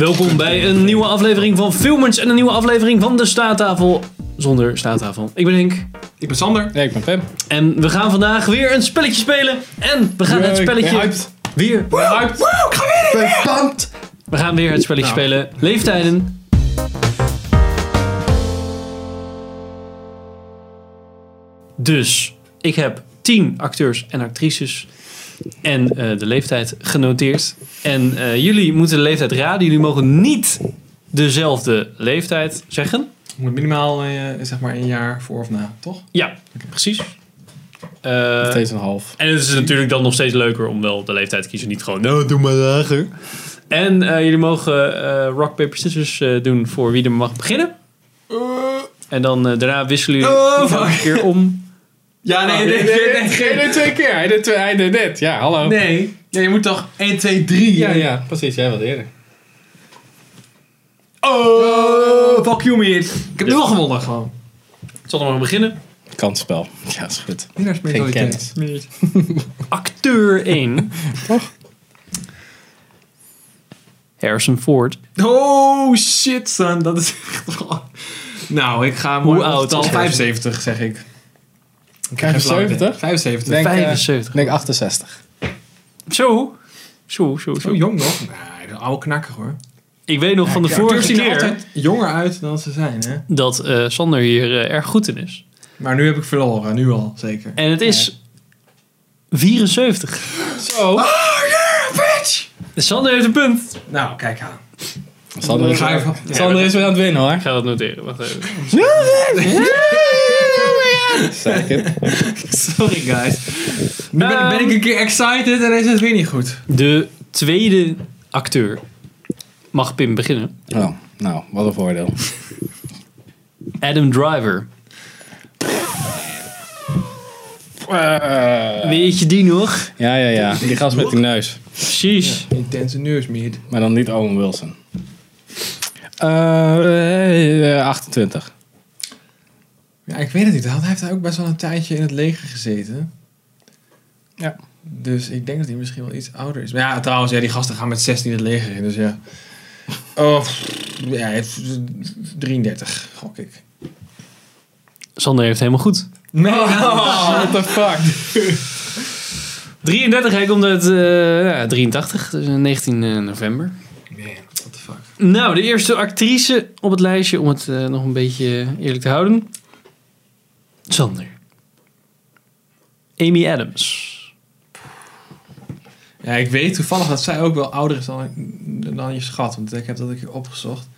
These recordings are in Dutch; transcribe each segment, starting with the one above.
Welkom bij een nieuwe aflevering van Filmers en een nieuwe aflevering van de Staattafel zonder staattafel. Ik ben Henk Ik ben Sander. Nee, ik ben Pem. en we gaan vandaag weer een spelletje spelen. En we gaan het spelletje weer. We gaan weer het spelletje Nou. spelen. Leeftijden. Dus ik heb 10 acteurs en actrices en eh, de leeftijd genoteerd. En eh, jullie moeten de leeftijd raden. Jullie mogen niet dezelfde leeftijd zeggen. Moet minimaal eh, zeg maar een jaar voor of na, toch? Ja, precies. Eh, Steeds een half. en het is natuurlijk dan nog steeds leuker om wel de leeftijd te kiezen. Niet gewoon, nou, doe maar lager. En eh, jullie mogen eh, rock, paper, scissors eh, doen voor wie er mag beginnen. En dan eh, daarna wisselen jullie Eh. Oh, iedere fuck. keer om. Ja, nee, Ah, Nee, nee, nee, twee keer. Hij deed, twee, hij deed net. Ja, Oh. hallo. Nee. Ja, je moet toch 1, 2, 3. Ja, ja, precies. Jij wat eerder. Oh, fuck you, meid. Ik heb nu al gewonnen, gewoon. Ik zal dan maar beginnen. Kansspel. Ja, is goed. Geen Winnaarsmentaliteit. kennis. Acteur 1. Harrison Ford. Oh, shit, son. Dat is echt... Nou, ik ga Hoe mooi oud opgetal is hij? 75, zeg ik. Ik krijg 75? 75. Denk, eh, 75. Ik denk 68. Zo. Zo, zo, zo. Zo jong nog? Nee, een oude knakker, hoor. Ik weet nog van de Acteurs vorige zien er keer altijd jonger uit dan ze zijn, hè? dat eh, Sander hier eh, erg goed in is. Maar nu heb ik verloren, nu al, zeker. En het is 74. Zo. Oh, Bitch! Sander heeft een punt. Nou, kijk aan. Sander is, Ga weer, even- eh, Sander is weer aan het winnen, hoor. Ik ga dat noteren. Wacht even. Zeker. Sorry, guys. Nu ben, ik- ben ik een keer excited en is het weer niet goed. De tweede acteur. Mag Pim beginnen? Oh, nou, wat een voordeel. Adam Driver. Weet je die nog? Ja, ja, ja. Eh. Die gast met die neus. Precies. Intense neusmeet. Maar dan niet Owen Wilson. Eh, eh, 28. Ja, ik weet het niet. Hij heeft hij ook best wel een tijdje in het leger gezeten. Ja. Dus ik denk dat hij misschien wel iets ouder is. Maar ja, trouwens, ja, die gasten gaan met 16 het leger in, dus ja. Oh, pff, ja, hij heeft 33, gok ik. Sander heeft helemaal goed. Nee, Oh, what the fuck? 33, hij komt uit eh, ja, 83, dus eh, 19 november. Man, what the fuck. Nou, de eerste actrice op het lijstje, om het eh, nog een beetje eerlijk te houden. Sander. Amy Adams. Ja, ik weet toevallig dat zij ook wel ouder is dan, dan je schat. Want ik heb dat een keer opgezocht.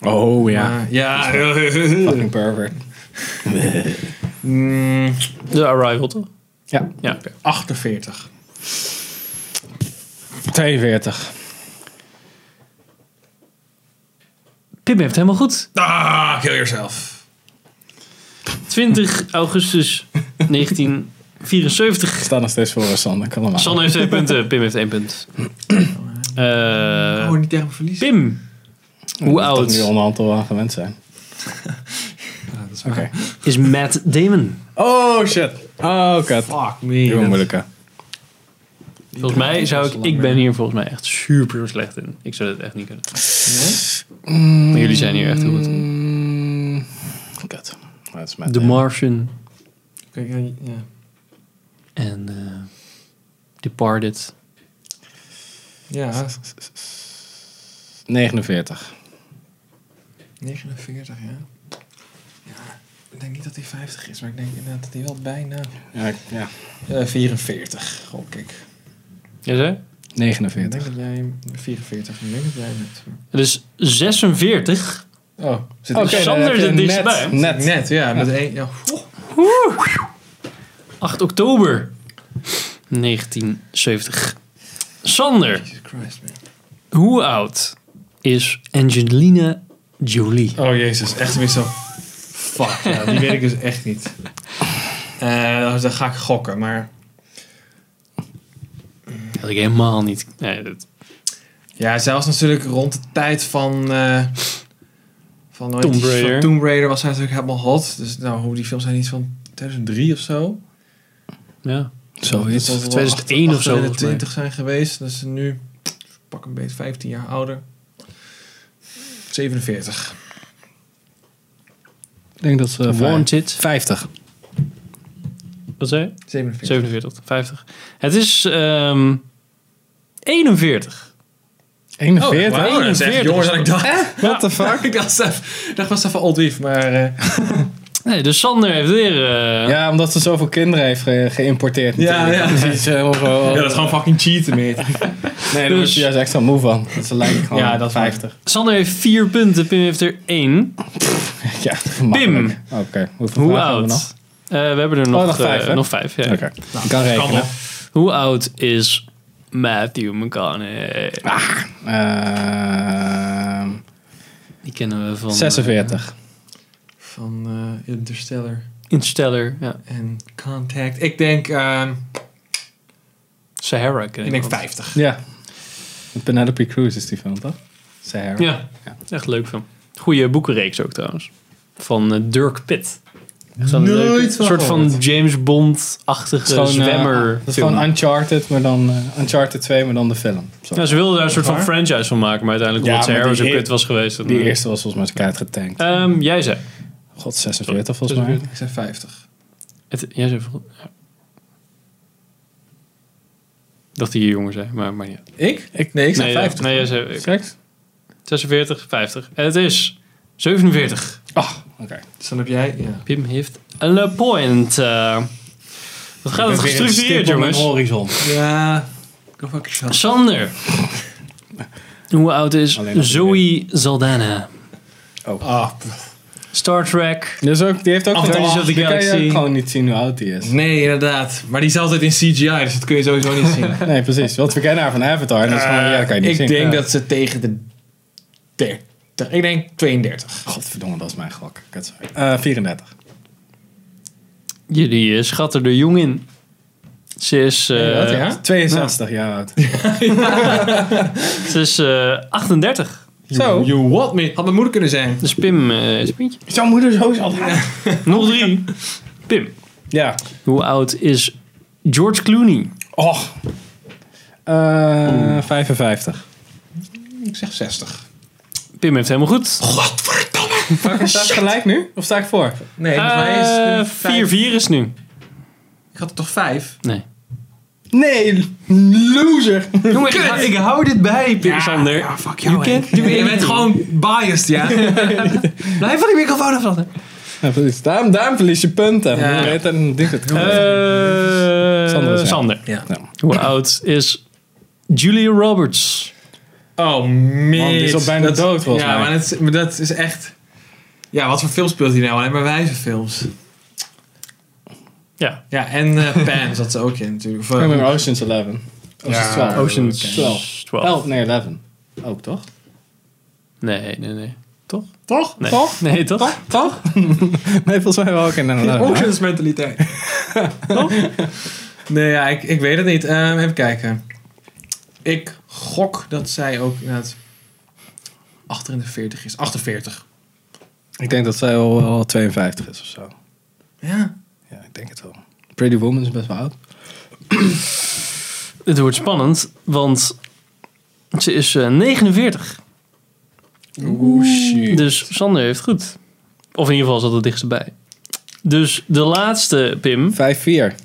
Oh, ja. Maar- ja. Ah. Fucking pervert. Mm, De Arrival, toch? Ja. Ja. 48. 42. Pim heeft helemaal goed. Ah, kill yourself. 20 augustus 1974. Staat nog steeds voor ons, Sander. Kan allemaal. Sanne heeft twee punten, Pim heeft één punt. Eh, oh, niet tegen me verliezen. Pim, hoe Dat we nu oud onderhand al aan gewend zijn. Ja, dat is Oké. waar. is Matt Damon? Oh shit. Oh god. Fuck me. Heel dat- moeilijke. Volgens mij zou ik, ik ben hier volgens mij echt super slecht in. Ik zou dat echt niet kunnen. Nee? Maar jullie zijn hier echt heel goed in. Mm. God. Dat is mijn The Martian Kijk, ja, ja. en eh, Departed. ja, 49. 49, ja. Ja, ik denk niet dat hij 50 is, maar ik denk inderdaad dat hij wel bijna... Ja, ik- ja. Eh 44, gok ik. Ja, zo? Ik denk 49. dat jij hem- 44, ik denk dat jij hem hebt. Dus 46. Oh, zit Dus Oké. dan Sander heb je zit dichtstbij. net, net. Net, ja, met één... Ja. Oeh. 8 oktober 1970. Sander, Jesus Christ, man. hoe oud is Angelina Jolie? Oh jezus, echt weer zo. Fuck, ja, die weet ik dus echt niet. Eh dan ga ik gokken, maar. Dat ik helemaal niet. Nee, dat, Ja, zelfs natuurlijk rond de tijd van. eh, van hoe heet Tomb die- van Raider. Tomb Raider was hij natuurlijk helemaal hot. Dus nou, hoe die films zijn iets van 2003 of Oh, zo. ja. Zoiets. Dat zal wel 2001 of zo, volgens mij. 28 zijn geweest. Dus nu. Pak een beetje 15 jaar ouder. 47. Ik denk dat ze Wanted. 50. Wat zei je? 47. 47, 50. Het is ehm 41. 41? Oh, wauw, dat is echt 41. jonger dan ik dacht. What the fuck? Ik dacht, zelf- ik dacht was even old Beef, maar... eh, Nee, dus Sander heeft weer... eh, Ja, omdat ze zoveel kinderen heeft ge- geïmporteerd. Ja, natuurlijk. ja. Dat is helemaal zo- ja, dat is gewoon fucking cheaten, mate. Nee, daar word je juist extra moe van. Dat ze lijkt gewoon Ja, dat is waar. 50. Sander heeft 4 punten, Pim heeft er Eh, 1. Ja, gemakkelijk. Oké, hoeveel Hoe vragen hebben we nog? oud? Eh, we hebben er nog, Oh, nog eh, vijf, hè? nog vijf, ja. Oké, Nou, ik kan Kan rekenen. wel. Hoe oud is Matthew McConaughey? Ah, Ehm, Die kennen we van... 46. Van eh, Interstellar eh, Interstellar, ja. en Contact. Ik denk, ehm, Sahara ken ik ik denk nog. 50. Ja. Met Penelope Cruz is die film, toch? Sarah. Ja, Ja. echt leuk film. Goeie boekenreeks ook trouwens. Van eh, Dirk Pitt. Zo'n Nooit leuke- van soort van gehoord. James Bond-achtige Het is gewoon, eh, zwemmer. Het is film. gewoon Uncharted, maar dan eh, Uncharted 2, maar dan de film. Zo. Ja, ze wilden daar een soort van Waar? franchise van maken, maar uiteindelijk Ja, omdat maar Sahara die zo eer- kut was geweest. dan- Die eerste was volgens mij de kaart getankt. Ehm, jij zei. God, 46 volgens mij. Ik zei 50. Het, jij zei vol- ja. Dat die hier jonger zijn, maar, maar niet. Ik? ik? Nee, ik zei nee, ja, 50. nee, jij zei ik- Seks? 46, 50. En het is 47. Ah, oké. Dus dan heb jij... Ja. Pim heeft een point. Eh wat gaat het gestructureerd, jongens? horizon. Ja. Go fuck yourself. Sander. Hoe oud is Alleen dat Zoe Saldana? Ah, Star Trek. Dus ook, die heeft ook... Oh, die Guardians of the kan je Galaxy. ook gewoon niet zien hoe oud die is. nee, inderdaad. Maar die is altijd in CGI, dus dat kun je sowieso niet zien. Nee, precies. Want we kennen haar nou van Avatar. Eh, en Dat is gewoon, ja, dat kan je niet ik zien. denk Ja. dat ze tegen de 30. Ik denk 32. Oh, Godverdomme, dat is mijn gok. Kutzooi. Eh 34. Jullie eh, schatten er jong in. Ze is, eh, dat, ja? 62 jaar oud. ze is eh, 38. Zo. You what me? Had mijn moeder kunnen zijn. Dus Pim eh, is een pintje. Zo'n moeder zo zal haar. Nog drie. Pim. Ja. Hoe oud is George Clooney? Och. Eh 55. Ik zeg 60. Pim heeft helemaal goed. Fuck, sta ik gelijk nu? Of sta ik voor? Nee, Eh, 4-4 is nu. Ik had er toch 5? Nee. Nee, loser. Jongen, ik, hou- ik hou dit bij, Pim Sander. fuck You can't do Je bent anything. gewoon biased, ja. Blijf van die microfoon af. Ja, precies. daarom, daarom verlies je punten. Ja. Je weet dat een ding het. Nou, Eh, Sander is- Sander. ja. eh. Hoe oud is Julia Roberts? Oh, man. die is al bijna dood, volgens ja, mij. maar dat, is- maar dat is echt... Ja, wat voor films speelt hij nou? Alleen maar wijze films. Ja. Ja, en eh Pan zat ze ook in natuurlijk. Of, eh, Coming Ocean's 11. Ocean's 12. Oh, Ocean's 12. 12. 11, nee, 11. Ook toch? Nee, nee, nee. Toch? Toch? Nee. Toch? Nee, toch? Toch? nee, volgens mij wel ook in een Oceans mentaliteit. Toch? nee, ja, ik, ik weet het niet. Ehm, even kijken. Ik gok dat zij ook inderdaad 48 is. 48. Ik denk dat zij al, al 52 is of zo. Ja. Ja, ik denk het wel. Pretty Woman is best wel oud. Het wordt spannend, want ze is eh, 49. Oeh, shit. Dus Sander heeft goed. Of in ieder geval zat het dichtstbij. Dus de laatste, Pim. 5-4.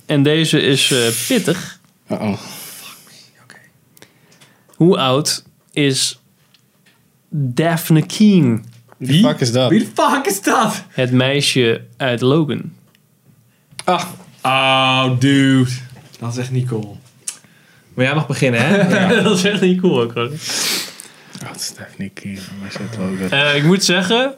En deze is eh, pittig. Uh-oh. Hoe oud is Daphne Keen? Wie? Fuck is dat? Wie de fuck is dat? Het meisje uit Logan. Ah, Oh, dude. Dat is echt niet cool. Maar jij mag beginnen, hè? dat is echt niet cool ook gewoon. oh, het is Stephanie Keen. Maar ze had wel dat- Eh, ik moet zeggen,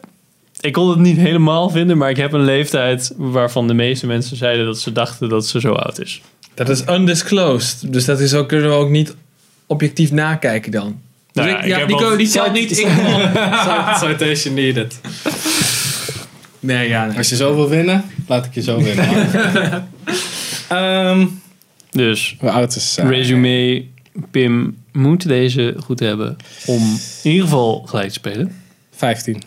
ik kon het niet helemaal vinden, maar ik heb een leeftijd waarvan de meeste mensen zeiden dat ze dachten dat ze zo oud is. dat is undisclosed. Dus dat is ook, kunnen we ook niet objectief nakijken dan. Dus Nou ja, ik, ik ja, heb die, al- ko- die telt niet. Ik Citation needed. nee, ja. Nee. Als je zo wil winnen, laat ik je zo winnen. Ehm, Dus hoe oud is zij? resume, Pim moet deze goed hebben om in ieder geval gelijk te spelen. 15.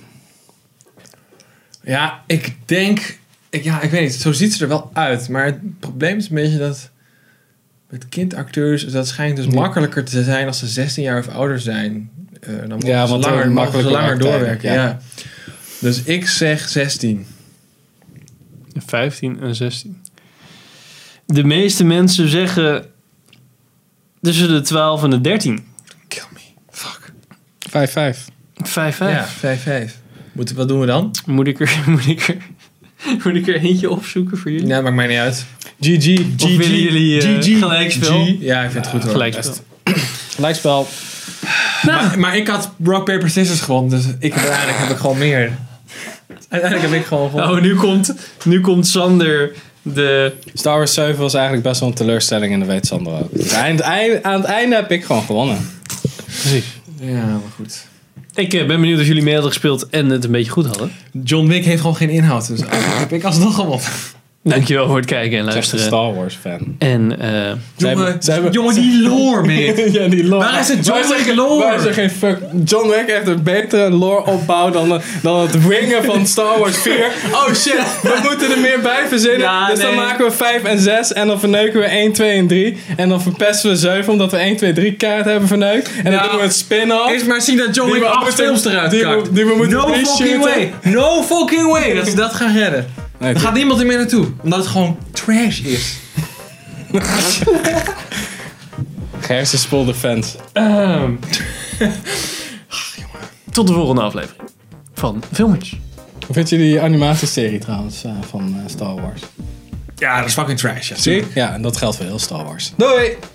Ja, ik denk. Ik, ja, ik weet niet. Zo ziet ze er wel uit. Maar het probleem is een beetje dat. Met kindacteurs, dat schijnt dus makkelijker te zijn als ze 16 jaar of ouder zijn. eh, dan mogen Ja, ze want dan langer, mogen ze makkelijker langer werktijden, doorwerken. Ja. ja. Dus ik zeg 16. 15 en 16. De meeste mensen zeggen tussen de 12 en de 13. Kill me. Fuck. 5-5. 5, 5. Ja, 5, 5. Moet, wat doen we dan? Moet, ik er, moet, ik er, moet ik er eentje opzoeken voor jullie? Ja, Nou, maakt mij niet uit. GG. Of willen jullie eh, GG. gelijkspel? G. Ja, ik vind het goed hoor. Gelijkspel. best. Gelijkspel. Maar, maar ik had rock, paper, scissors gewonnen. Dus ik, uiteindelijk heb ik gewoon meer. Uiteindelijk heb ik gewoon gewonnen. Oh, nu komt, nu komt Sander de... Star Wars 7 was eigenlijk best wel een teleurstelling en dat weet Sander ook. Dus eind- eind- aan het einde heb ik gewoon gewonnen. Oh. Ja, maar goed. Ik eh, ben benieuwd of jullie mee hadden gespeeld en het een beetje goed hadden. John Wick heeft gewoon geen inhoud. Dus heb ik alsnog gewonnen. Dankjewel voor het kijken en Echt een luisteren. Star Wars fan. En eh, Ze hebben- ze hebben- jongen, die lore, man. ja, die lore. Waar is het John Waar is er Wick geen- lore? Waar is er geen fuck? John Wick heeft een betere lore opbouw dan, de- dan het wingen van Star Wars 4. Oh shit, we moeten er meer bij verzinnen. Ja, dus dan nee. maken we 5 en 6 en dan verneuken we 1, 2 en 3. En dan verpesten we 7 omdat we 1, 2, 3 kaart hebben verneukt. En Ja. Nou, dan doen we het spin-off. Eerst maar zien dat John Oh. Die Wick we acht moeten- films eruit die we- kakt. die we moeten No fucking reshooten. way. No fucking way dat ze dat gaan redden. Nee, Er gaat niemand er meer naartoe. Omdat het gewoon trash is. Gehersenspoel de fans. ehm, tot de volgende aflevering van Filmers. Hoe vind je die animatieserie trouwens eh, van eh, Star Wars? Ja, dat is fucking trash. Ja. Ja, en dat geldt voor heel Star Wars. Doei!